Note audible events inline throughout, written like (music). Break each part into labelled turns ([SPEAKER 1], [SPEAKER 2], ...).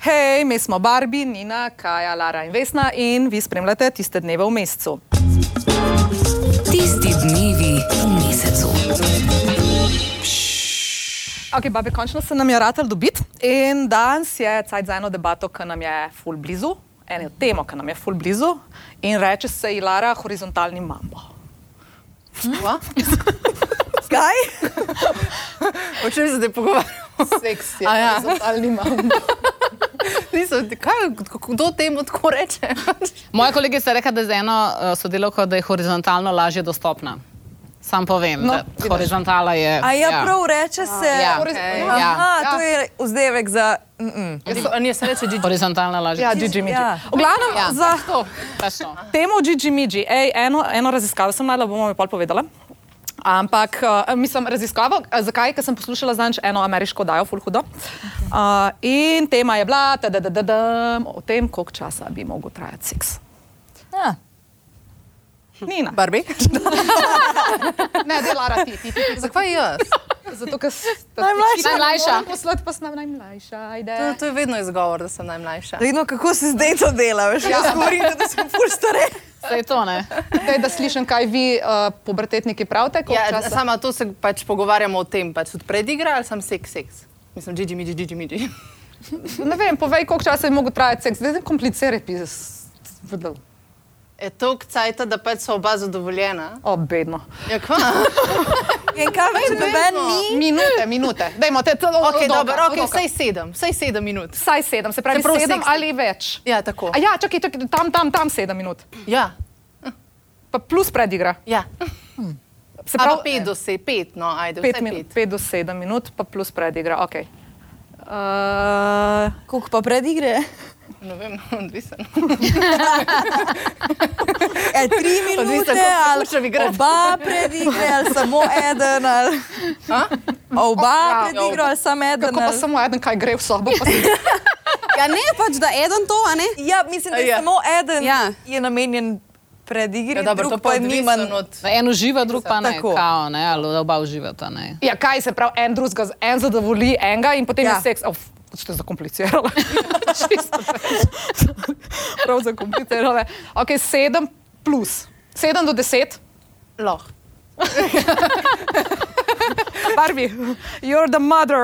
[SPEAKER 1] Hej, mi smo Barbi, Nina, Kaja, Lara in Vesna in vi spremljate tiste dneve v mesecu.
[SPEAKER 2] Tisti dnevi v mesecu.
[SPEAKER 1] Ok, babi, končno se nam je ratal dobiti in danes je cajt za eno debato, ki nam je full blizu, eno temo, ki nam je full blizu in reče se ji Lara horizontalni mambo. (laughs) Hva?
[SPEAKER 3] Kaj? O čem se zdaj pogovarjamo?
[SPEAKER 4] Seks je
[SPEAKER 3] A ja.
[SPEAKER 4] horizontalni mambo.
[SPEAKER 1] (laughs)
[SPEAKER 3] Nisem, kaj, kdo temu tako reče?
[SPEAKER 5] Moja kolegica je rekla, da je za eno eh, sodelavko, da je horizontalno lažje dostopna. Sam povem, no, da horizontala je.
[SPEAKER 3] A ja, prav reče se.
[SPEAKER 5] Ja.
[SPEAKER 3] Okay.
[SPEAKER 5] Ja.
[SPEAKER 3] Aha,
[SPEAKER 4] Ja.
[SPEAKER 3] to je vzdevek za. Mm
[SPEAKER 1] Hm.
[SPEAKER 3] -mm.
[SPEAKER 4] Jaz so- a Ne, se reče Gigi.
[SPEAKER 5] Horizontalna lažje.
[SPEAKER 1] Ja, Gigi Midži.
[SPEAKER 3] Ja.
[SPEAKER 1] V glavnem,
[SPEAKER 5] Ja,
[SPEAKER 1] ja. za
[SPEAKER 5] to. pač to.
[SPEAKER 1] temo Gigi Midži, Ej, eno, eno raziskavo sem najdela, bomo mi pol povedala. Ampak, uh, mislim, raziskavo, eh, zakaj, ker sem poslušala zanč eno ameriško dajo, full hudo. Uh, in tema je bila, tadadadadam, o tem, koliko časa bi mogel trajati seks.
[SPEAKER 3] Ja.
[SPEAKER 1] Nina.
[SPEAKER 4] (laughs)
[SPEAKER 3] Barbi?
[SPEAKER 4] Ne, delara ti, ti, ti.
[SPEAKER 3] Zakaj jaz?
[SPEAKER 4] Zato, ker
[SPEAKER 3] Najmlajša.
[SPEAKER 5] Najmlajša.
[SPEAKER 1] Poslati pa sem najmlajša,
[SPEAKER 4] Ja, To,
[SPEAKER 1] ajde.
[SPEAKER 4] to je vedno izgovor, da sem najmlajša. Ja.
[SPEAKER 3] Vedno, kako si zdaj to delaš? Jaz govorim, da sem ful stare.
[SPEAKER 5] Saj je to, ne?
[SPEAKER 1] Daj, da slišim, kaj vi, uh, pubertetniki, pravite. koliko
[SPEAKER 4] Ja,
[SPEAKER 1] časa-
[SPEAKER 4] sama to se pač pogovarjamo o tem, pač tudi predigra ali sam seks, seks. Mislim, Gigi, Gigi, Gigi, Gigi.
[SPEAKER 1] Ne vem, povej, koliko časa je mogel trajati seks, zdaj ne kompliciraj, pis. vdl.
[SPEAKER 4] Je toliko cajta, da pač so oba zadovoljena.
[SPEAKER 1] O, bedno.
[SPEAKER 4] Ja,
[SPEAKER 3] (laughs)
[SPEAKER 4] kva?
[SPEAKER 3] Ja, In kaj več noben ni?
[SPEAKER 1] Minute, minute. Dajmo te celo odoka,
[SPEAKER 4] Ok, dobro, ok,
[SPEAKER 1] odoka.
[SPEAKER 4] vsaj sedem, vsaj sedem minut.
[SPEAKER 1] Vsaj sedem, se pravi
[SPEAKER 4] Se pravi
[SPEAKER 1] sedem
[SPEAKER 4] seks-
[SPEAKER 1] ali več.
[SPEAKER 4] Ja, tako.
[SPEAKER 1] A ja, čakaj, čakaj, tam, tam, tam sedem minut.
[SPEAKER 4] Ja,
[SPEAKER 1] Pa plus predigra.
[SPEAKER 4] ja.
[SPEAKER 1] Se
[SPEAKER 4] Ali
[SPEAKER 1] pravi,
[SPEAKER 4] pa pet do se, pet, no, ajde,
[SPEAKER 1] pet
[SPEAKER 4] vsaj
[SPEAKER 1] minut,
[SPEAKER 4] pet.
[SPEAKER 1] pet do sedem minut, pa plus predigra, ok.
[SPEAKER 4] Eh,
[SPEAKER 1] Uh,
[SPEAKER 3] Kuk eh, pa predigre?
[SPEAKER 4] Ne vem, (laughs) odvisen.
[SPEAKER 3] (laughs) E, tri minute,
[SPEAKER 4] kako
[SPEAKER 3] ali
[SPEAKER 4] hočem igrati.
[SPEAKER 3] oba predigre, ali samo eden, ali
[SPEAKER 4] A?
[SPEAKER 3] oba
[SPEAKER 1] Ja,
[SPEAKER 3] predigre, ali samo eden.
[SPEAKER 1] kako pa
[SPEAKER 3] ali-
[SPEAKER 1] samo eden, kaj gre v sobo? pa se-
[SPEAKER 6] Ja, ne, pač da eden to, a ne?
[SPEAKER 3] Ja, mislim, da je
[SPEAKER 4] Ja.
[SPEAKER 3] samo eden
[SPEAKER 6] Ja.
[SPEAKER 3] je namenjen predigri,
[SPEAKER 4] Ja, dobro, to
[SPEAKER 3] drug
[SPEAKER 4] pa
[SPEAKER 3] pa no,
[SPEAKER 4] je
[SPEAKER 3] nima.
[SPEAKER 4] odvisno od...
[SPEAKER 5] Da En uživa, drug pa ne.
[SPEAKER 3] Tako.
[SPEAKER 5] Kao, ne? Ali da oba uživata, ne.
[SPEAKER 1] Ja, kaj se pravi, en drugega, z- en zadovolji enega in potem ja. je
[SPEAKER 3] Ja.
[SPEAKER 1] seks. Oh, Ste zakomplicirali. (laughs) Prav zakomplicirali. Ok, sedem plus. Sedem do deset.
[SPEAKER 4] Loh.
[SPEAKER 1] Barbie, you're the mother.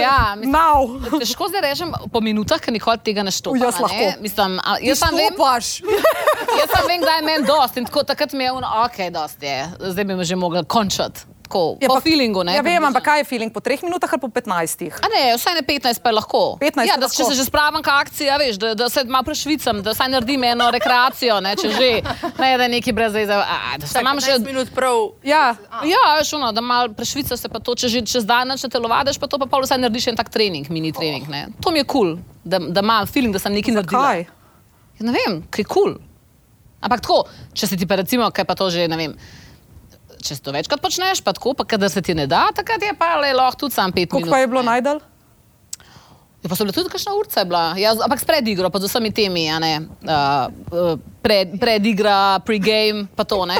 [SPEAKER 5] Ja, mislim-
[SPEAKER 1] Now.
[SPEAKER 5] Težko zdaj rečem po minutah, ker nikoli tega ne štopim.
[SPEAKER 1] U, jaz
[SPEAKER 5] a ne.
[SPEAKER 1] lahko.
[SPEAKER 5] Mislim, a, jaz sam vem,
[SPEAKER 3] paš.
[SPEAKER 5] (laughs) Jaz pa vem, kdaj je meni dost in tako takrat mi je ono, ok, dost je, zdaj bi me že mogla končati. Tako, je po feelingu, ne?
[SPEAKER 1] Ja, vem,
[SPEAKER 5] približno.
[SPEAKER 1] ampak kaj je feeling po treh minutah ali po petnajstih?
[SPEAKER 5] A ne, vsaj ne 15 pa je lahko.
[SPEAKER 1] 15
[SPEAKER 5] ja,
[SPEAKER 1] je
[SPEAKER 5] da, če
[SPEAKER 1] lahko.
[SPEAKER 5] se že spravim kakšna akcija, veš, da, da se malo prešvicam, da vsaj naredim eno rekreacijo, ne, če že. Ne, da neki brez zdaj, da se imam še...
[SPEAKER 4] 15 minut prav
[SPEAKER 1] Ja,
[SPEAKER 5] Ja, veš, ono, da malo prešvicaš se pa to, če že čez dan nič ne telovadaš, pa to pa pol vsaj narediš en tak trening, mini trening, ne. To mi je kul, cool, da, da imam feeling, da sem nekaj naredila.
[SPEAKER 1] kaj?
[SPEAKER 5] Ja, Ne vem, kaj je kul. Cool. Ampak tako, če se ti pa recimo, kaj pa to že ne vem. Če se to večkrat počneš, pa tako, pa kadar se ti ne da, takrat je pa le lahko tudi sam pet
[SPEAKER 1] Koliko
[SPEAKER 5] minut.
[SPEAKER 1] pa je bilo
[SPEAKER 5] ne.
[SPEAKER 1] najdal?
[SPEAKER 5] Ja, pa so bile tudi kakšna urca je bila, ja, z- ampak s predigro, pa z vsemi temi, a ne, uh, pred, predigra, pregame, pa to ne.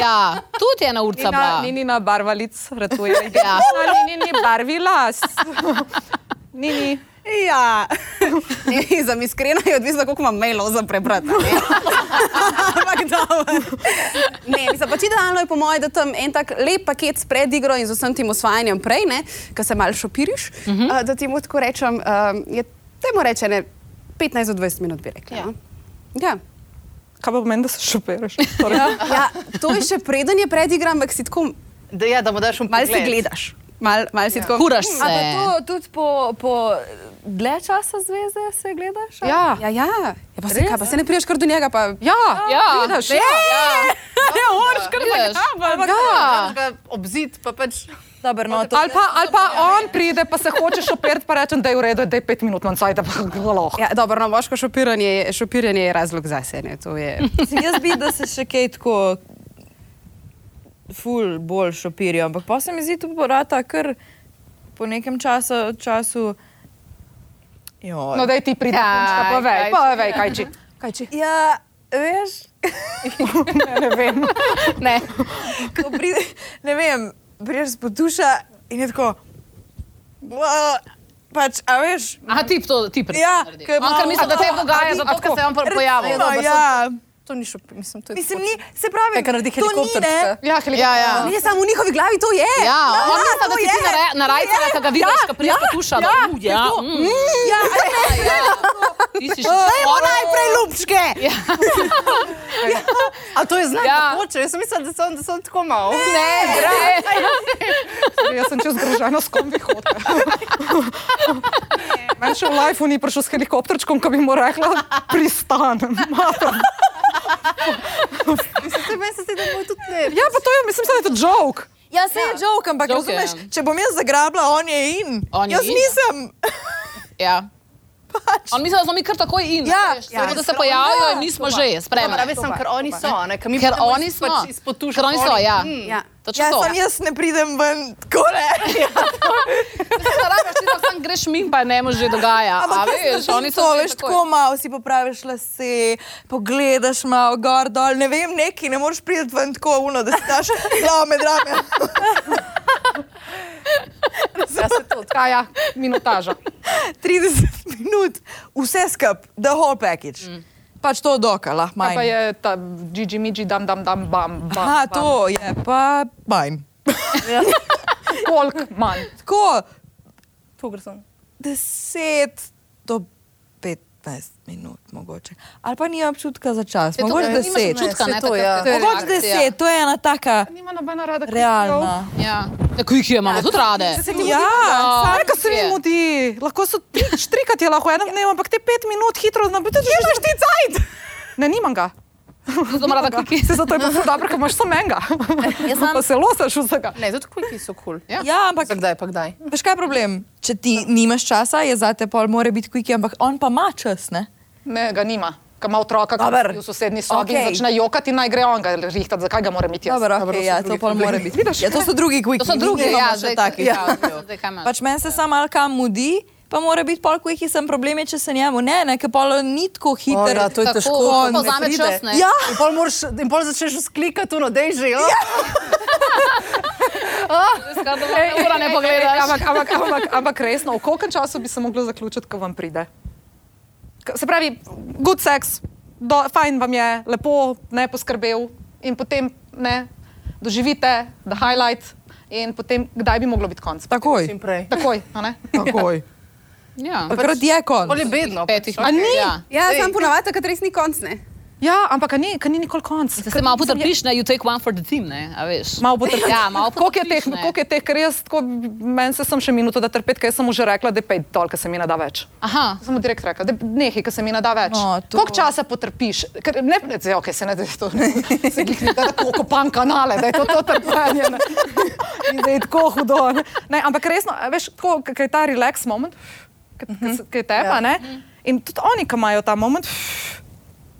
[SPEAKER 5] Ja, tudi je ena urca
[SPEAKER 1] Nina,
[SPEAKER 5] bila.
[SPEAKER 1] Ninina barva lic, ratuje.
[SPEAKER 5] Ja.
[SPEAKER 1] Ni, ni, ni barvi las. Ni, ni.
[SPEAKER 6] Ja. (laughs) Ej, Za iskreno je odvisno, koliko imam mailov za prebrati. a ne. (laughs) Ampak dobro. Ne, mislim, pač idealno je po mojem, da tam en tak lep paket s predigro in z vsem tem osvajanjem prej, ne, ko se mal šopiriš, uh
[SPEAKER 3] Mhm.
[SPEAKER 6] -huh. da ti mu tako rečem, um, je temu reče ne 15 do 20 minut bi rekla.
[SPEAKER 4] Ja.
[SPEAKER 6] Ja. ja.
[SPEAKER 1] Kaj pa pomeni, da se šopiraš? Torej,
[SPEAKER 6] (laughs) Ja, to je še preden je predigra, ampak si tako
[SPEAKER 4] Da, ja, da mu daš
[SPEAKER 6] mal
[SPEAKER 4] umpalce.
[SPEAKER 6] si gledaš. Mal, mal si ja. tako.
[SPEAKER 5] Kuraš
[SPEAKER 3] A pa
[SPEAKER 5] se.
[SPEAKER 3] to tudi po, po dlje časa zveze se gledaš? ali?
[SPEAKER 1] Ja.
[SPEAKER 6] Ja, ja. ja pa se, kaj, pa se ne priješ kar do njega, pa
[SPEAKER 1] (laughs) Ja,
[SPEAKER 5] Ja.
[SPEAKER 1] vidiš, ja. Ne moreš kar
[SPEAKER 5] Vidiš?
[SPEAKER 1] zagabati.
[SPEAKER 4] Ja. Obzid pa pač.
[SPEAKER 3] Dobro, no, to
[SPEAKER 1] Ali pa, ali pa on pride, pa se hočeš operiti, pa rečem, da je v redu, da je pet minut manjkaj, da pa golo.
[SPEAKER 6] Ja, dobro, no, moško šopiranje, je- šopiranje je razlog za sebe.
[SPEAKER 3] Mislim, jaz bi, da se še kaj tako ful bolj šopirijo, ampak pa se mi zdi tu porata, ker po nekem času, času jo,
[SPEAKER 1] No, da ti pride, ja, povej, kaj, povej, kaj če.
[SPEAKER 3] ja, veš,
[SPEAKER 1] (laughs) Ne (laughs) vem.
[SPEAKER 5] Ne.
[SPEAKER 3] ko pride, ne vem, priješ spotuša in je tako, "Bua, pač, a veš,
[SPEAKER 5] Aha, ti to, ti pridi.
[SPEAKER 3] Ja,
[SPEAKER 5] naredi.
[SPEAKER 3] ker je
[SPEAKER 5] On kar
[SPEAKER 3] malo-
[SPEAKER 5] misli, da te dogaja, zato ker se je on pr- pojavil.
[SPEAKER 3] no, ja.
[SPEAKER 4] To ni šlo, mislim, to je.
[SPEAKER 3] Mislim, ni, se pravi,
[SPEAKER 4] Kaj naredi
[SPEAKER 3] to ni, ne.
[SPEAKER 4] helikopter?
[SPEAKER 5] Ja, ja, ja.
[SPEAKER 6] Ne, samo v njihovi glavi to je.
[SPEAKER 5] Ja,
[SPEAKER 6] Ja,
[SPEAKER 5] on misli, da
[SPEAKER 6] to
[SPEAKER 5] ti ti
[SPEAKER 6] je.
[SPEAKER 5] naraja- narajcala,
[SPEAKER 6] Ja,
[SPEAKER 5] ki ga vidiš, ki priješ pokušala. Ja, ja, mm,
[SPEAKER 6] Ja,
[SPEAKER 5] ja. Ti si še
[SPEAKER 6] Dajmo
[SPEAKER 5] fora.
[SPEAKER 6] najprej lupčke.
[SPEAKER 4] A to je znak,
[SPEAKER 5] Ja.
[SPEAKER 4] da hoče. Jaz sem mislila, da sem, da sem tako malo.
[SPEAKER 5] Ne, draje.
[SPEAKER 1] Jaz sem čez groženo s kombi (laughs) hodila. Meni še v lifeu ni prišel s helikopterčkom, ko bi mu rekla, pristanem.
[SPEAKER 4] Mislim, se meni se zdi, da bo tudi ne.
[SPEAKER 1] Ja, pa to je, mislim, da je to joke.
[SPEAKER 3] Ja, se je žog, ampak
[SPEAKER 5] Joke je.
[SPEAKER 3] razumeš, če bom jaz zagrabila, on je in.
[SPEAKER 5] On je
[SPEAKER 3] jaz
[SPEAKER 5] in, ja.
[SPEAKER 3] nisem.
[SPEAKER 5] Ja. On misli, da smo mi kar takoj in.
[SPEAKER 3] Ja,
[SPEAKER 5] veš,
[SPEAKER 3] ja.
[SPEAKER 5] samo da se pojavijo in mi smo že,
[SPEAKER 4] Prema,
[SPEAKER 5] spremljamo.
[SPEAKER 4] veš, sem, ker oni so, ne, ker mi
[SPEAKER 5] Ker
[SPEAKER 4] pridemo
[SPEAKER 5] oni
[SPEAKER 4] iz- pač
[SPEAKER 5] smo.
[SPEAKER 4] izpod tuša,
[SPEAKER 5] Ker oni so,
[SPEAKER 4] oni-
[SPEAKER 5] ja.
[SPEAKER 4] Mm.
[SPEAKER 6] Ja.
[SPEAKER 5] Točno
[SPEAKER 3] Ja,
[SPEAKER 5] to.
[SPEAKER 3] sam jaz ne pridem ven, tako ne. (laughs)
[SPEAKER 5] Se rabiš, ti tako sam greš min, pa ne moreš že dogaja.
[SPEAKER 3] Ja,
[SPEAKER 5] A
[SPEAKER 3] Ampak jaz
[SPEAKER 5] veš,
[SPEAKER 3] sem
[SPEAKER 5] oni so
[SPEAKER 3] to,
[SPEAKER 5] že
[SPEAKER 3] veš, tako malo si popraviš lase, pogledaš malo gor, dol, ne vem, neki, ne moreš priti ven tako uno, da si daš (laughs) glavo med rame.
[SPEAKER 1] Ja, se to, kaj ja, minutaža.
[SPEAKER 3] 30 minut, vse skup, the whole package. Mm. Pač to
[SPEAKER 5] Ja,
[SPEAKER 3] dokala,
[SPEAKER 1] Kaj pa
[SPEAKER 3] manj.
[SPEAKER 1] je ta Gigi Migi, dam, dam, dam, bam, bam.
[SPEAKER 3] Aha, to je pa manj.
[SPEAKER 1] Koliko manj?
[SPEAKER 3] Tako,
[SPEAKER 4] Pogr sem.
[SPEAKER 3] 10 do 15 minut mogoče. Ali pa ni občutka za čas, mogoče
[SPEAKER 5] Mogoče
[SPEAKER 3] 10.
[SPEAKER 5] Čutka, ne,
[SPEAKER 4] to,
[SPEAKER 5] takrat,
[SPEAKER 4] ja.
[SPEAKER 5] ko je
[SPEAKER 3] Mogoče
[SPEAKER 5] reakcija.
[SPEAKER 3] 10, to je ena taka
[SPEAKER 1] Nima nobena rada.
[SPEAKER 3] realna.
[SPEAKER 5] Ja. Tako jih je, imamo tudi (laughs) rade.
[SPEAKER 3] Ja,
[SPEAKER 1] Kaj, ko se mi
[SPEAKER 5] Je.
[SPEAKER 1] mudi, lahko so tri, štrikati je lahko v enem
[SPEAKER 3] no,
[SPEAKER 1] dnevu, ampak te pet minut hitro nabiti. Kje imaš ti cajt? Ne, nimam ga.
[SPEAKER 5] Zato ima rada kiki.
[SPEAKER 1] Se zato je pa ful dobro, ker imaš samo enega. Pa se losaš vsega.
[SPEAKER 4] Ne, tudi kviki so kul. Cool.
[SPEAKER 5] Ja.
[SPEAKER 3] ja, ampak
[SPEAKER 4] Pa kdaj, pa kdaj.
[SPEAKER 3] veš kaj je problem? Če ti nimaš časa, je za te pol mora biti kviki, ampak on pa ima čas, ne?
[SPEAKER 1] Ne, ga nima. Ko ima otroka, ki
[SPEAKER 3] Dober.
[SPEAKER 1] je v sosednji sobi okay.
[SPEAKER 3] Okej.
[SPEAKER 1] in začne jokati, naj gre on ga rihtati, zakaj ga moram imeti jaz.
[SPEAKER 3] Dobro,
[SPEAKER 1] Dobro,
[SPEAKER 3] okay,
[SPEAKER 1] so
[SPEAKER 3] ja,
[SPEAKER 1] drugi
[SPEAKER 3] to pol
[SPEAKER 1] problemi.
[SPEAKER 3] mora biti. Ja, to so drugi kviki.
[SPEAKER 5] To so drugi,
[SPEAKER 3] mi
[SPEAKER 5] ja,
[SPEAKER 3] nimamo še
[SPEAKER 5] zdaj
[SPEAKER 3] takih.
[SPEAKER 5] Ja, zdaj kaj imaš?
[SPEAKER 3] Pač meni se samo malo kam mudi, pa mora biti pol kviki, sem problem, je, če se njemu ne, ne, ker pol ni tako hiter.
[SPEAKER 4] ja, to je
[SPEAKER 5] Tako,
[SPEAKER 4] težko,
[SPEAKER 5] to
[SPEAKER 4] on
[SPEAKER 5] pa
[SPEAKER 4] ne
[SPEAKER 5] vzame
[SPEAKER 4] pride.
[SPEAKER 5] čas, ne?
[SPEAKER 3] Ja,
[SPEAKER 4] In pol, moraš, in pol začneš sklikati, no, dej že. Ja.
[SPEAKER 5] Skratka, ura (laughs) ne
[SPEAKER 1] Ej, ej,
[SPEAKER 5] pogledaš.
[SPEAKER 1] Ampak, ampak, ampak, ampak resno, v kolkem času bi se moglo zaključiti, ko vam pride? K- Se pravi, good sex, do, fajn vam je, lepo, ne poskrbel in potem ne doživite, da highlight in potem kdaj bi moglo biti konc.
[SPEAKER 3] takoj.
[SPEAKER 4] Čim prej.
[SPEAKER 1] Takoj, a ne?
[SPEAKER 3] Takoj.
[SPEAKER 5] Ja.
[SPEAKER 3] Takrat je
[SPEAKER 4] Pol
[SPEAKER 3] konc.
[SPEAKER 4] je bedno.
[SPEAKER 5] Petih
[SPEAKER 4] pač,
[SPEAKER 5] minut.
[SPEAKER 4] okej.
[SPEAKER 5] Ja.
[SPEAKER 6] Ja,
[SPEAKER 4] Ej.
[SPEAKER 6] sam ponavadi, takrat res ni konc. Ne?
[SPEAKER 1] Ja, ampak a ni, ka ni nikoli konc.
[SPEAKER 5] Da se malo potrpiš, ne, you take one for the team, ne, a veš.
[SPEAKER 1] Malo potrpiš.
[SPEAKER 5] Ja, malo
[SPEAKER 1] Koliko je
[SPEAKER 5] potrpiš,
[SPEAKER 1] teh,
[SPEAKER 5] ne.
[SPEAKER 1] koliko je teh, ker jaz tako, meni se sem še minuto, da trpeti, ker jaz sem mu že rekla, da je pet dol, ker se mi ne da več.
[SPEAKER 5] Aha.
[SPEAKER 1] Sem mu direkt rekla, da nehi, ker se mi ne da več.
[SPEAKER 3] No, to-
[SPEAKER 1] Koliko časa potrpiš? Ker, ne, ne, zdaj, okay, se ne da to, ne, (laughs) se jih ne da tako kopan kanale, da je to, to trpljenje. ne. (laughs) In da je tako hudo. Ne. Ne, ampak resno, a veš, tako, k- ker je ta relax moment, ki je tepa, ne? In tudi oni, ki imajo ta moment,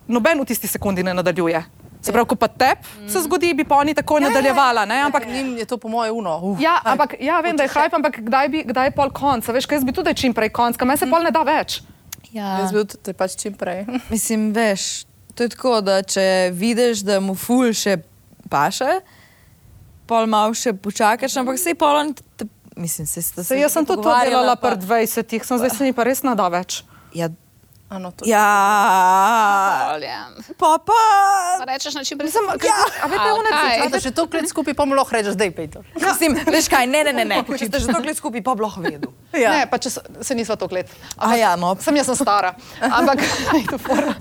[SPEAKER 1] noben v tisti sekundi ne nadaljuje. Se pravi, ko pa tep se zgodi, bi pa oni tako nadaljevala, ne? Ja, Ampak
[SPEAKER 4] Njim je to po moje uno. Uh.
[SPEAKER 1] Ja, ampak ja, vem, da je hype, ampak kdaj, bi, kdaj je pol konc? A Veš, kaj jaz bi tudi čim prej konc, ker meni se pol ne da več.
[SPEAKER 4] Jaz bi tudi pač čim prej. (laughs)
[SPEAKER 3] Mislim, veš, to je tako, da če vidiš, da mu ful še paše, pol malo še počakaš, ampak sej pol on, te, mislim, se sta
[SPEAKER 1] Se, jaz sem tudi to delala
[SPEAKER 3] pogovarjala, pa-
[SPEAKER 1] pred 20, sem zdaj se mi pa res ne da več.
[SPEAKER 3] Ja,
[SPEAKER 4] Ano, to.
[SPEAKER 3] ja,
[SPEAKER 5] Ja.
[SPEAKER 3] pa pa.
[SPEAKER 5] Pa Rečeš na čim prej.
[SPEAKER 1] Mislim, ja. a veste,
[SPEAKER 5] A,
[SPEAKER 1] one
[SPEAKER 5] kaj?
[SPEAKER 1] cvečke,
[SPEAKER 4] Ej, da še to klet skupaj, pa mu lahko rečeš, dej pej dol.
[SPEAKER 3] Mislim, veš kaj, ne, ne, ne, ne. Če ste že to gledali skupaj, pa bi lahko vedel.
[SPEAKER 1] ja. ne, pa če se, se nisva to gledala.
[SPEAKER 3] A ja, no.
[SPEAKER 1] Sem jaz sem stara, ampak Aj, to fora.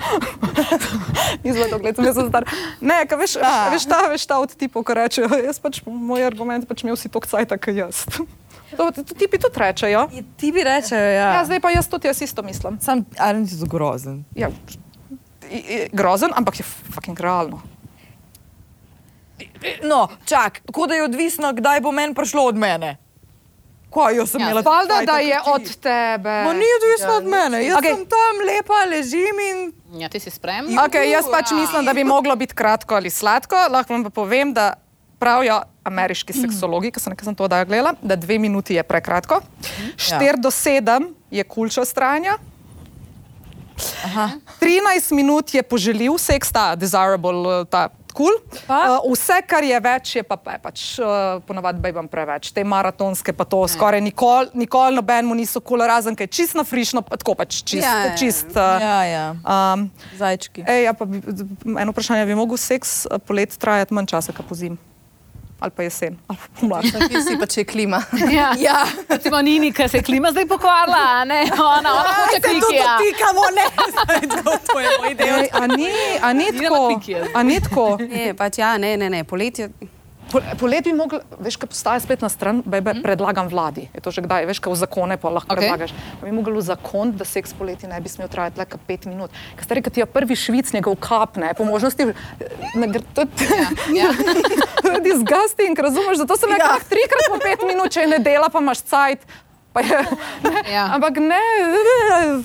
[SPEAKER 1] nisva (laughs) to gledala, sem jaz sem stara. Ne, ka veš,
[SPEAKER 3] A.
[SPEAKER 1] veš ta, veš ta od tipov, ko rečejo, (laughs) jaz pač, moj argument pač imel si tok cajt, kot jaz. (laughs) To, to tipi tudi rečejo.
[SPEAKER 3] Ja, Ti bi rečejo, ja.
[SPEAKER 1] Ja, zdaj pa jaz tudi jaz isto mislim.
[SPEAKER 3] Sam, ali ti je to grozen?
[SPEAKER 1] ja, i- i- grozen, ampak je fucking realno.
[SPEAKER 3] No, čak, tako da je odvisno, kdaj bo meni prišlo od mene. Kaj jo sem
[SPEAKER 5] Ja,
[SPEAKER 3] imela?
[SPEAKER 1] Valjda,
[SPEAKER 3] cajta
[SPEAKER 1] da
[SPEAKER 3] kot
[SPEAKER 1] je
[SPEAKER 3] ti?
[SPEAKER 1] od tebe.
[SPEAKER 3] Ma ni odvisno od mene, jaz
[SPEAKER 1] Okej.
[SPEAKER 3] okay. sem tam lepa, ležim in
[SPEAKER 5] Ja, ti si sprem.
[SPEAKER 1] Okay, jaz pač
[SPEAKER 5] ja.
[SPEAKER 1] mislim, da bi moglo biti kratko ali sladko. Lahko vam pa povem, da pravijo ameriški seksologi, ki sem nekaj to oddajo gledala, da dve minuti je prekratko,
[SPEAKER 3] Ja.
[SPEAKER 1] 4 ja. do 7 je kulčo stranja. Aha. 13 minut je poželil seks, ta desirable, eh, ta kul.
[SPEAKER 3] Pa?
[SPEAKER 1] Uh, vse, kar je več, je pa, pa je pač uh, ponavadi bejbam preveč. Te maratonske pa to skoraj nikoli, nikoli noben mu niso kul, razen kaj čist na frišno, pa tako pač čist.
[SPEAKER 6] Ja, ja, ja.
[SPEAKER 1] čist uh,
[SPEAKER 3] Ja, ja.
[SPEAKER 1] um,
[SPEAKER 3] Zajčki.
[SPEAKER 1] ej, ja, pa bi, eno vprašanje, bi mogel seks eh, polet trajati manj časa, kot pozim? Ali pa jesen, ali pa (laughs) pomlad.
[SPEAKER 4] Ti si pa če je (laughs) klima.
[SPEAKER 5] (laughs) Ja. ja. Recimo Nini, ki se je klima zdaj pokvarila, a ne? Ona, ona
[SPEAKER 1] ja.
[SPEAKER 5] hoče ja. klikija.
[SPEAKER 1] Tikamo, ne, ja. (laughs) to je moj del. Ej, a ni, a ni
[SPEAKER 5] Ni na
[SPEAKER 1] tako,
[SPEAKER 5] piki, jaz.
[SPEAKER 1] a ni tako.
[SPEAKER 6] Ne, pač ja, ne, ne, ne, poletje.
[SPEAKER 1] Po- Polet bi mogel, veš, kaj postaja spletna stran, bebe, mm. predlagam vladi. Je to že kdaj, veš, kaj v zakone pa lahko
[SPEAKER 5] Okej.
[SPEAKER 1] okay. predlagaš. Pa Bi mogel uzakoniti, da seks poleti ne bi smel trajati le ka pet minut. Ker stari, ki ti je prvi švic njega ukapne, po možnosti, (laughs)
[SPEAKER 5] Ja.
[SPEAKER 1] disgusting, razumeš, zato sem rekel, ja. trikrat po pet minut, če je ne dela, pa imaš cajt. Pa je, ne,
[SPEAKER 5] Ja.
[SPEAKER 1] ja. Ampak ne,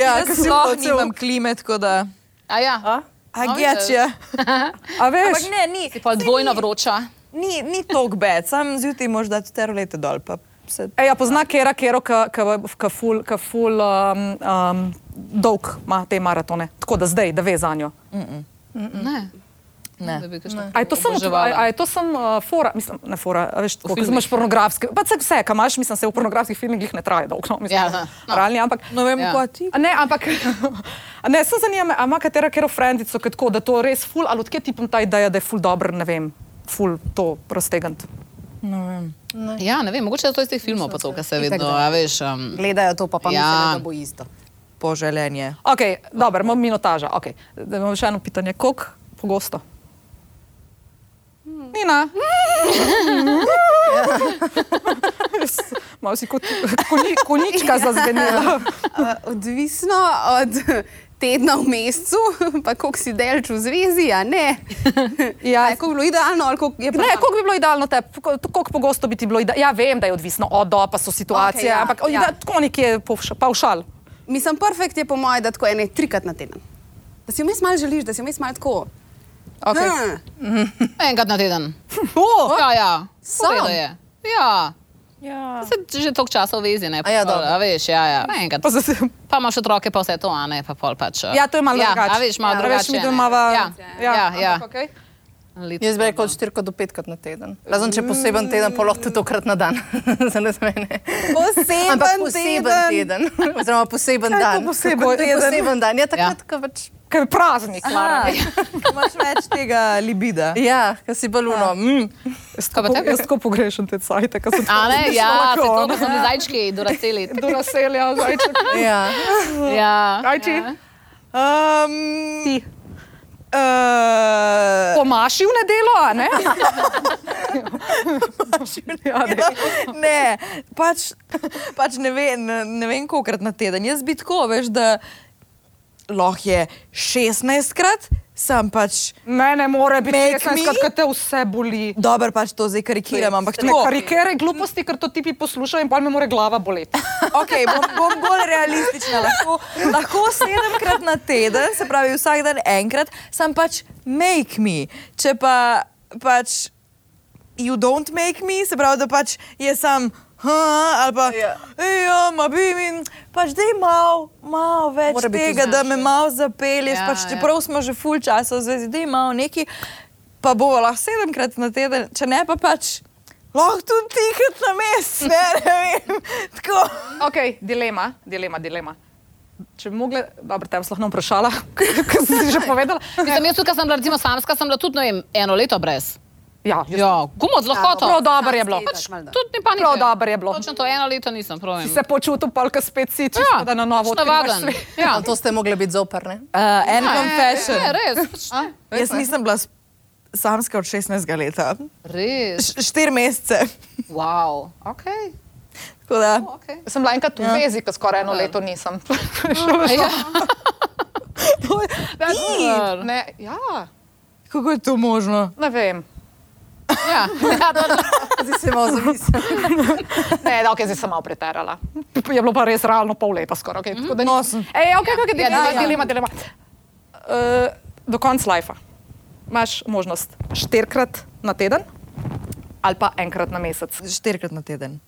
[SPEAKER 3] Ja,
[SPEAKER 1] ker si
[SPEAKER 3] sploh
[SPEAKER 1] hotel-
[SPEAKER 3] nimam klime, tako da.
[SPEAKER 5] A ja. A?
[SPEAKER 3] A geč je.
[SPEAKER 1] a veš.
[SPEAKER 3] Ampak ne, ni.
[SPEAKER 5] Pa
[SPEAKER 3] saj
[SPEAKER 5] dvojno
[SPEAKER 3] ni-
[SPEAKER 5] vroča.
[SPEAKER 3] Ni, ni tako bed, sam zjutraj možda tudi te rolete dol. Pa se...
[SPEAKER 1] E, ja, pozna Kera, Kero, ki ful, ka ful um, um, dolg ima te maratone, tako da zdaj, da ve za njo.
[SPEAKER 5] Ne.
[SPEAKER 3] Ne.
[SPEAKER 5] Da bi kakšno
[SPEAKER 1] A je to samo,
[SPEAKER 5] oboževala.
[SPEAKER 1] a, a je to samo uh, fora, mislim, ne fora, a veš, tako, ko
[SPEAKER 5] filmih.
[SPEAKER 1] imaš pornografske, pa se vse, kar imaš, mislim, se v pornografskih filmih glih ne traje dolgo, no, mislim,
[SPEAKER 5] Ja,
[SPEAKER 1] ja,
[SPEAKER 5] no.
[SPEAKER 1] no. realni, ampak.
[SPEAKER 3] No, vem,
[SPEAKER 5] Ja.
[SPEAKER 3] ja. kot ti.
[SPEAKER 1] A Ne, ampak (laughs) a ne, se zanima, me, a ima katera kero frendico, ki tako, da to res ful, ali odkje ti pom ta ideja, da je ful dobro, ne vem, ful to prostegant.
[SPEAKER 3] No, vem.
[SPEAKER 5] Ja, ne vem, mogoče je to iz teh filmov, pa to, kar se vedno, a veš. Um,
[SPEAKER 6] Gledajo to, pa pa
[SPEAKER 5] Ja.
[SPEAKER 6] ja. mislijo, da bo isto.
[SPEAKER 3] Poželenje.
[SPEAKER 1] Ok, dobro, imamo minutaža. Okay. Da imamo še eno pitanje. Kako pogosto?
[SPEAKER 3] Hmm. (laughs)
[SPEAKER 1] Nina. Malo si kot koni, konička
[SPEAKER 3] Ja.
[SPEAKER 1] zazvenela.
[SPEAKER 6] Uh, odvisno od tedna v mesecu, pa koliko si delč v zvezi, a (laughs) ne.
[SPEAKER 1] Ja.
[SPEAKER 6] Ja, kako bi bilo idealno, ali koliko je
[SPEAKER 1] Ne, koliko bi bilo idealno te, kako pogosto bi ti bilo idealno? Ja, vem, da je odvisno od do, pa so situacije,
[SPEAKER 6] Okej, ja,
[SPEAKER 1] okay, ja, ampak
[SPEAKER 6] ja.
[SPEAKER 1] ja. Da, tako nekje povš- pavšal.
[SPEAKER 6] Mislim, perfekt je po mojem, da tako ene trikrat na teden. Da si vmes malo želiš, da si vmes malo tako.
[SPEAKER 1] Okay.
[SPEAKER 6] Hm.
[SPEAKER 5] enkrat na teden.
[SPEAKER 1] Oh,
[SPEAKER 5] Ja, ja.
[SPEAKER 6] Sam?
[SPEAKER 5] Seveda je. Ja.
[SPEAKER 3] Ja.
[SPEAKER 5] Se že toliko časa v vezi, ne?
[SPEAKER 4] A ja,
[SPEAKER 5] pol,
[SPEAKER 4] dobro.
[SPEAKER 5] a veš, ja, ja. Enkrat.
[SPEAKER 1] pa se, se-
[SPEAKER 5] Pa imaš otroke, pa vse to, a ne, pa pol pač. uh,
[SPEAKER 1] ja, to je malo
[SPEAKER 5] ja,
[SPEAKER 1] drugače.
[SPEAKER 5] A veš, malo
[SPEAKER 1] ja,
[SPEAKER 5] drugače.
[SPEAKER 1] Veš, mi
[SPEAKER 5] ne.
[SPEAKER 1] tu imava,
[SPEAKER 5] Ja, ja, ja.
[SPEAKER 1] ampak okej.
[SPEAKER 5] Litko,
[SPEAKER 4] Jaz bi rekel od 4 do 5 na teden. Razen če poseben teden, pa lahko tudi tokrat na dan. (laughs) Za ne za mene.
[SPEAKER 3] Poseben
[SPEAKER 4] Ampak poseben teden, (laughs) oziroma poseben
[SPEAKER 3] je to
[SPEAKER 4] dan.
[SPEAKER 3] poseben
[SPEAKER 4] Tako, to je
[SPEAKER 3] teden?
[SPEAKER 4] Poseben dan, ja,
[SPEAKER 5] Ja.
[SPEAKER 4] takrat, ko pač.
[SPEAKER 1] Ker je praznik,
[SPEAKER 3] (laughs)
[SPEAKER 1] Lara.
[SPEAKER 3] Imaš več tega libida.
[SPEAKER 4] Ja, ko si baluno. Mm.
[SPEAKER 1] Jaz
[SPEAKER 5] Kaj pa
[SPEAKER 1] tako-
[SPEAKER 5] tebi?
[SPEAKER 1] Jaz tako pogrešam te cajte, ki so
[SPEAKER 5] A ne, ja, se to,
[SPEAKER 1] tako
[SPEAKER 5] ko so bili zajčki,
[SPEAKER 1] (laughs)
[SPEAKER 5] doraseli.
[SPEAKER 1] do naselja,
[SPEAKER 3] (laughs)
[SPEAKER 1] zajček.
[SPEAKER 4] Ja.
[SPEAKER 5] Ja.
[SPEAKER 1] Kaj ti?
[SPEAKER 5] ja.
[SPEAKER 3] Um,
[SPEAKER 1] Ti.
[SPEAKER 3] uh,
[SPEAKER 1] Pomaši v nedelo, a ne? Ja, ne.
[SPEAKER 3] ne, pač, pač ne, ve, ne, ne vem, kolikrat na teden. Jaz bi tako, veš, da lahko je 16krat, sam pač.
[SPEAKER 1] Ne, ne more biti. Jaz
[SPEAKER 3] Make
[SPEAKER 1] sem
[SPEAKER 3] me?
[SPEAKER 1] skratka, te vse boli.
[SPEAKER 3] Dober pač to zdaj karikiram, ampak
[SPEAKER 1] Ne
[SPEAKER 3] tako.
[SPEAKER 1] karikere gluposti, ker to tipi poslušajo in pa mi more glava boleti.
[SPEAKER 3] Okay, bom, bom bolj realistična. Lahko, lahko sedemkrat na teden, se pravi vsak dan enkrat, sem pač make me. Če pa pač you don't make me, se pravi, da pač je sam. Ha, ali pa,
[SPEAKER 4] Ja.
[SPEAKER 3] ja, ma bi mi, pač da je malo, malo več
[SPEAKER 4] Mora biti
[SPEAKER 3] tega, da me
[SPEAKER 5] znaš, ja.
[SPEAKER 3] malo zapelješ,
[SPEAKER 5] Ja,
[SPEAKER 3] ja, pač
[SPEAKER 5] ja.
[SPEAKER 3] čeprav ja. smo že full časa v zvezi, da je malo neki, pa bo lahko sedemkrat na teden, če ne pa pač, lahko tudi tikrat na mesec, ne, ne vem, tako.
[SPEAKER 1] Ok, dilema, dilema, dilema. Če bi mogla, dobro, te bom slahno vprašala, (laughs) ker si že povedala.
[SPEAKER 5] Mislim, jaz, tukaj sem bila recimo samska, sem bila tudi ne vem, eno leto brez.
[SPEAKER 1] Ja, jaz-
[SPEAKER 5] Ja, gumo z lahkoto.
[SPEAKER 1] Prav dobro je bilo.
[SPEAKER 6] Pač malo da.
[SPEAKER 5] Tudi ni panike.
[SPEAKER 1] Prav dobro je bilo.
[SPEAKER 5] Točno to eno leto nisem pravil.
[SPEAKER 1] Si se počutil polka spet si, če ja, da na novo odkrivaš
[SPEAKER 5] navaden.
[SPEAKER 1] svet. (laughs)
[SPEAKER 5] Ja,
[SPEAKER 4] A To ste mogli biti zoprne.
[SPEAKER 3] Uh, en ja, confession.
[SPEAKER 5] Ne, res.
[SPEAKER 1] (laughs)
[SPEAKER 5] pač ne.
[SPEAKER 3] Jaz nisem bila s- samska od 16 leta,
[SPEAKER 5] Res.
[SPEAKER 3] Š štiri mesece.
[SPEAKER 5] Wow. Ok.
[SPEAKER 3] Tako da,
[SPEAKER 5] okay.
[SPEAKER 1] Sem bila enkrat v vezi, ki skoraj eno leto nisem. (laughs)
[SPEAKER 5] Ja.
[SPEAKER 1] Ne, ne, ja,
[SPEAKER 3] kako je to možno?
[SPEAKER 1] ne vem.
[SPEAKER 5] Ja. (laughs) Ja, to-
[SPEAKER 4] Zdaj se malo zamislim.
[SPEAKER 1] Ne, da, okay, zdaj sem malo preterala. No, Je bilo pa res realno pol leta skoraj. Okay, tako da ni-
[SPEAKER 3] Nosen.
[SPEAKER 1] Ej, okay, okay,
[SPEAKER 5] Ja,
[SPEAKER 1] dilema,
[SPEAKER 5] ja, ja.
[SPEAKER 1] dilema, dilema. Uh, do konca lajfa imaš možnost štirikrat na teden ali pa enkrat na mesec.
[SPEAKER 3] Štirikrat na teden.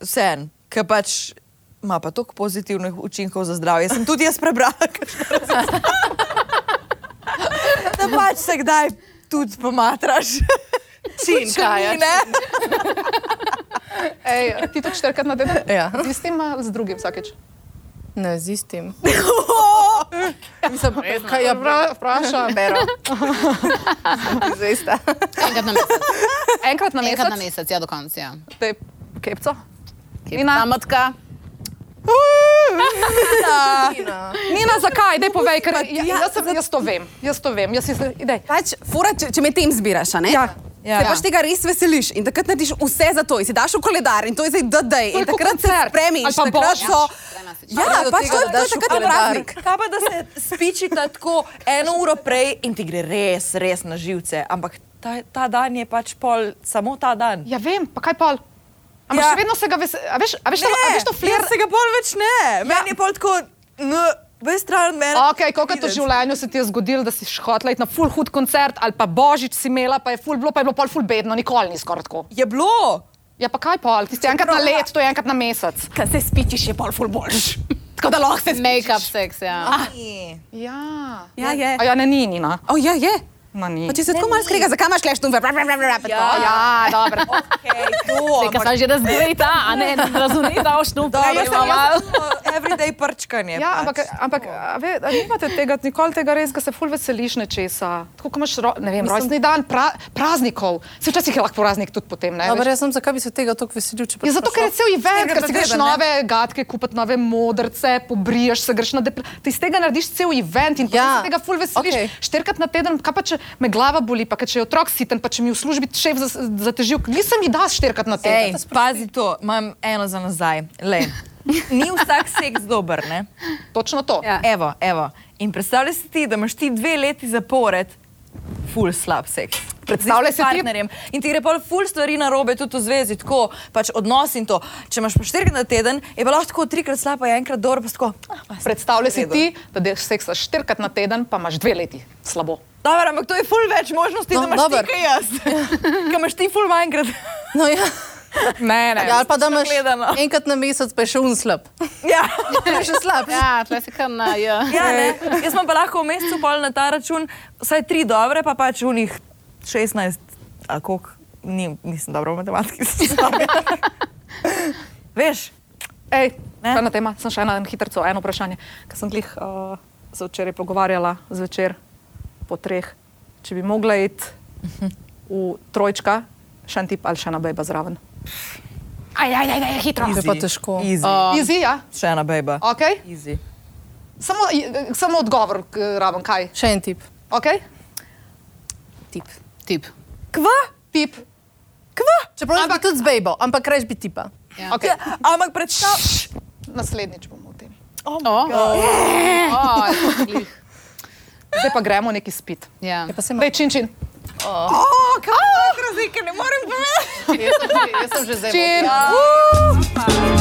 [SPEAKER 3] Vse en, ki pač ima pa toliko pozitivnih učinkov za zdravje. Sem tudi jaz prebrala, kakšno raziskavo. da da pač se kdaj tudi pomatraš.
[SPEAKER 4] Čim, kaj je?
[SPEAKER 1] Ej, ti to četrkrat na teden?
[SPEAKER 4] Ja.
[SPEAKER 1] Z istim, a z drugim vsakeč.
[SPEAKER 4] Ne, z (laughs) istim.
[SPEAKER 1] Mislim, kaj je vprašal?
[SPEAKER 4] Pero. (laughs) Zvesta.
[SPEAKER 5] Enkrat na mesec.
[SPEAKER 1] Enkrat na mesec.
[SPEAKER 5] Enkrat na mesec, ja, do konca. Ja.
[SPEAKER 1] Te kepco.
[SPEAKER 5] Ta
[SPEAKER 1] (laughs)
[SPEAKER 5] matka.
[SPEAKER 1] Nina, zakaj? Dej povej, ker ja, jaz, sem, jaz to vem. Jaz to vem. Jaz jaz, idej.
[SPEAKER 6] Pač, fora, če, če med tem zbiraš, a ne?
[SPEAKER 1] Ja.
[SPEAKER 6] Ja. Se pač tega res veseliš in takrat narediš vse za to, in si daš v koledar in to je zdaj DD.
[SPEAKER 1] To je
[SPEAKER 6] In
[SPEAKER 1] kot
[SPEAKER 6] takrat se
[SPEAKER 1] koncert.
[SPEAKER 6] spremiš,
[SPEAKER 1] Ali pa
[SPEAKER 6] takrat
[SPEAKER 1] božič.
[SPEAKER 6] so.
[SPEAKER 5] Ja,
[SPEAKER 6] Ja,
[SPEAKER 3] do
[SPEAKER 6] pač
[SPEAKER 3] tega,
[SPEAKER 6] to, je-
[SPEAKER 3] da
[SPEAKER 6] to je
[SPEAKER 3] daš v
[SPEAKER 6] takrat
[SPEAKER 3] koledar.
[SPEAKER 6] praznik.
[SPEAKER 3] Kaj pa, da se spičita tako eno uro prej in ti gre res, res na živce, ampak ta, ta dan je pač pol, samo ta dan.
[SPEAKER 1] Ja, vem, pa kaj pol. Ampak ja.
[SPEAKER 3] Ja.
[SPEAKER 1] še vedno se ga veseliš. A veš, a veš, to, a veš to flir?
[SPEAKER 3] jaz se ga bolj več ne. Meni je pol tako, no, veš stran od mene.
[SPEAKER 1] Ok, koliko to v življenju se ti je zgodilo, da si šhotla iti na full hud koncert ali pa božič si imela, pa je full bilo, pa je bilo pol full bedno, nikoli ni skoraj tako.
[SPEAKER 3] Je bilo.
[SPEAKER 1] Ja, pa kaj pol, tisti enkrat na let, to je enkrat na mesec.
[SPEAKER 6] Kaj se spičiš, je pol ful boljš. Tako da lahko se spičiš.
[SPEAKER 5] Make-up seks, ja.
[SPEAKER 1] Ja.
[SPEAKER 6] Ja, je.
[SPEAKER 1] A ja, ne, ni, Nina.
[SPEAKER 6] O, ja, je.
[SPEAKER 1] Ma, ni.
[SPEAKER 6] Pa če se tako malo skrega, zakaj imaš kleš tumbe?
[SPEAKER 3] Ja.
[SPEAKER 1] Ja, dobro.
[SPEAKER 3] Ej, to,
[SPEAKER 5] Nekaj sem že razgledala, a ne razumela, da ošnu.
[SPEAKER 3] Dobro, jaz sem jaz sem malo everyday prčkanje.
[SPEAKER 1] Ja, ampak,
[SPEAKER 3] pač.
[SPEAKER 1] ampak a ve, a nimate tega, nikoli tega res, da se ful veseliš nečesa. Tako kot imaš ro, ne vem, rojstni dan, pra, praznikov. Se včasih je lahko praznik tudi potem, ne?
[SPEAKER 6] No,
[SPEAKER 4] Dobro,
[SPEAKER 1] veš.
[SPEAKER 4] jaz sem, zakaj bi se tega tako veselil, če pač
[SPEAKER 1] Ja, zato, ker je cel event, ker si greš
[SPEAKER 3] teden, ne?
[SPEAKER 1] nove gadke, kupiti nove modrce, pobriješ se, greš na depresijo. Ti iz tega narediš cel event in
[SPEAKER 4] Ja,
[SPEAKER 1] ja. se tega ful veseliš.
[SPEAKER 4] okej.
[SPEAKER 1] Okay. Štirikrat na teden, kaj pa če me glava boli, pa če je otrok siten, pa če mi v službi šef zas- zatežil, nisem ji dal štirikrat na
[SPEAKER 3] Ej,
[SPEAKER 1] teden.
[SPEAKER 3] pazi to, imam eno za nazaj. Lej. Ni vsak seks dober, ne?
[SPEAKER 1] Točno to.
[SPEAKER 6] Ja.
[SPEAKER 3] Evo, evo. In predstavljaj si ti, da imaš ti dve leti zapored ful slab seks.
[SPEAKER 1] Predstavljaj
[SPEAKER 3] Z
[SPEAKER 1] si ti-
[SPEAKER 3] partnerjem. In ti gre pa ful stvari na robe, tudi v zvezi, tako pač odnos in to. Če imaš pa štirikrat na teden, je pa lahko tako trikrat slab, pa je enkrat dober, pa si tako. ah, pa saj,
[SPEAKER 1] Predstavljaj si
[SPEAKER 3] v redu.
[SPEAKER 1] ti, da delaš seksa štirikrat na teden, pa imaš dve leti slabo.
[SPEAKER 3] Dobro, ampak to je ful več možnosti, no,
[SPEAKER 4] No,
[SPEAKER 3] da imaš
[SPEAKER 4] dober.
[SPEAKER 3] ti kaj jaz. (laughs) Kaj imaš ti ful manjkrat.
[SPEAKER 4] No, ja.
[SPEAKER 1] Ne, ne.
[SPEAKER 4] ja, ali pa da imaš
[SPEAKER 3] Gledano.
[SPEAKER 4] enkrat na mesec, pa je še unslab.
[SPEAKER 3] (laughs) ja.
[SPEAKER 4] To je še slab.
[SPEAKER 5] Ja, tle si kar na, ja.
[SPEAKER 3] Ja, ne. Jaz sem pa lahko v mesecu pol na ta račun, vsaj tri dobre, pa pač unih 16, ali koliko, ni, nisem dobro v matematiki. sem slaba. Veš,
[SPEAKER 1] Ej,
[SPEAKER 3] Ne?
[SPEAKER 1] ena tema, sem še ena hitrica, eno vprašanje. Ker sem jih uh, se včeraj pogovarjala zvečer po treh. Če bi mogla iti v trojčka, še en tip ali še ena beba zraven. Aj, aj, aj, aj hitro.
[SPEAKER 4] Easy. Je pa težko.
[SPEAKER 3] Easy.
[SPEAKER 5] Uh,
[SPEAKER 1] Izi, ja,
[SPEAKER 3] Še ena beba.
[SPEAKER 1] ok.
[SPEAKER 3] Easy.
[SPEAKER 1] Samo, i- e, samo odgovor k- raven, kaj.
[SPEAKER 4] Še en tip.
[SPEAKER 1] Okay?
[SPEAKER 4] Tip.
[SPEAKER 5] Tip.
[SPEAKER 3] Kva?
[SPEAKER 1] Tip.
[SPEAKER 4] Čeprav ampak, tudi z bejbo, ampak reš bi tipa.
[SPEAKER 5] Ja.
[SPEAKER 1] Okay.
[SPEAKER 3] Ja, ampak predstavljaj.
[SPEAKER 1] Naslednjič bomo o tem.
[SPEAKER 5] O, o, glih.
[SPEAKER 1] Zdaj pa gremo neki spit.
[SPEAKER 5] Ja.
[SPEAKER 4] Je pa se
[SPEAKER 1] Dej, čin, čin.
[SPEAKER 3] Oh, kaj? Razlike ne morem povedati.
[SPEAKER 4] Jaz sem že- jaz sem že zdaj.
[SPEAKER 1] čin.
[SPEAKER 3] Uh,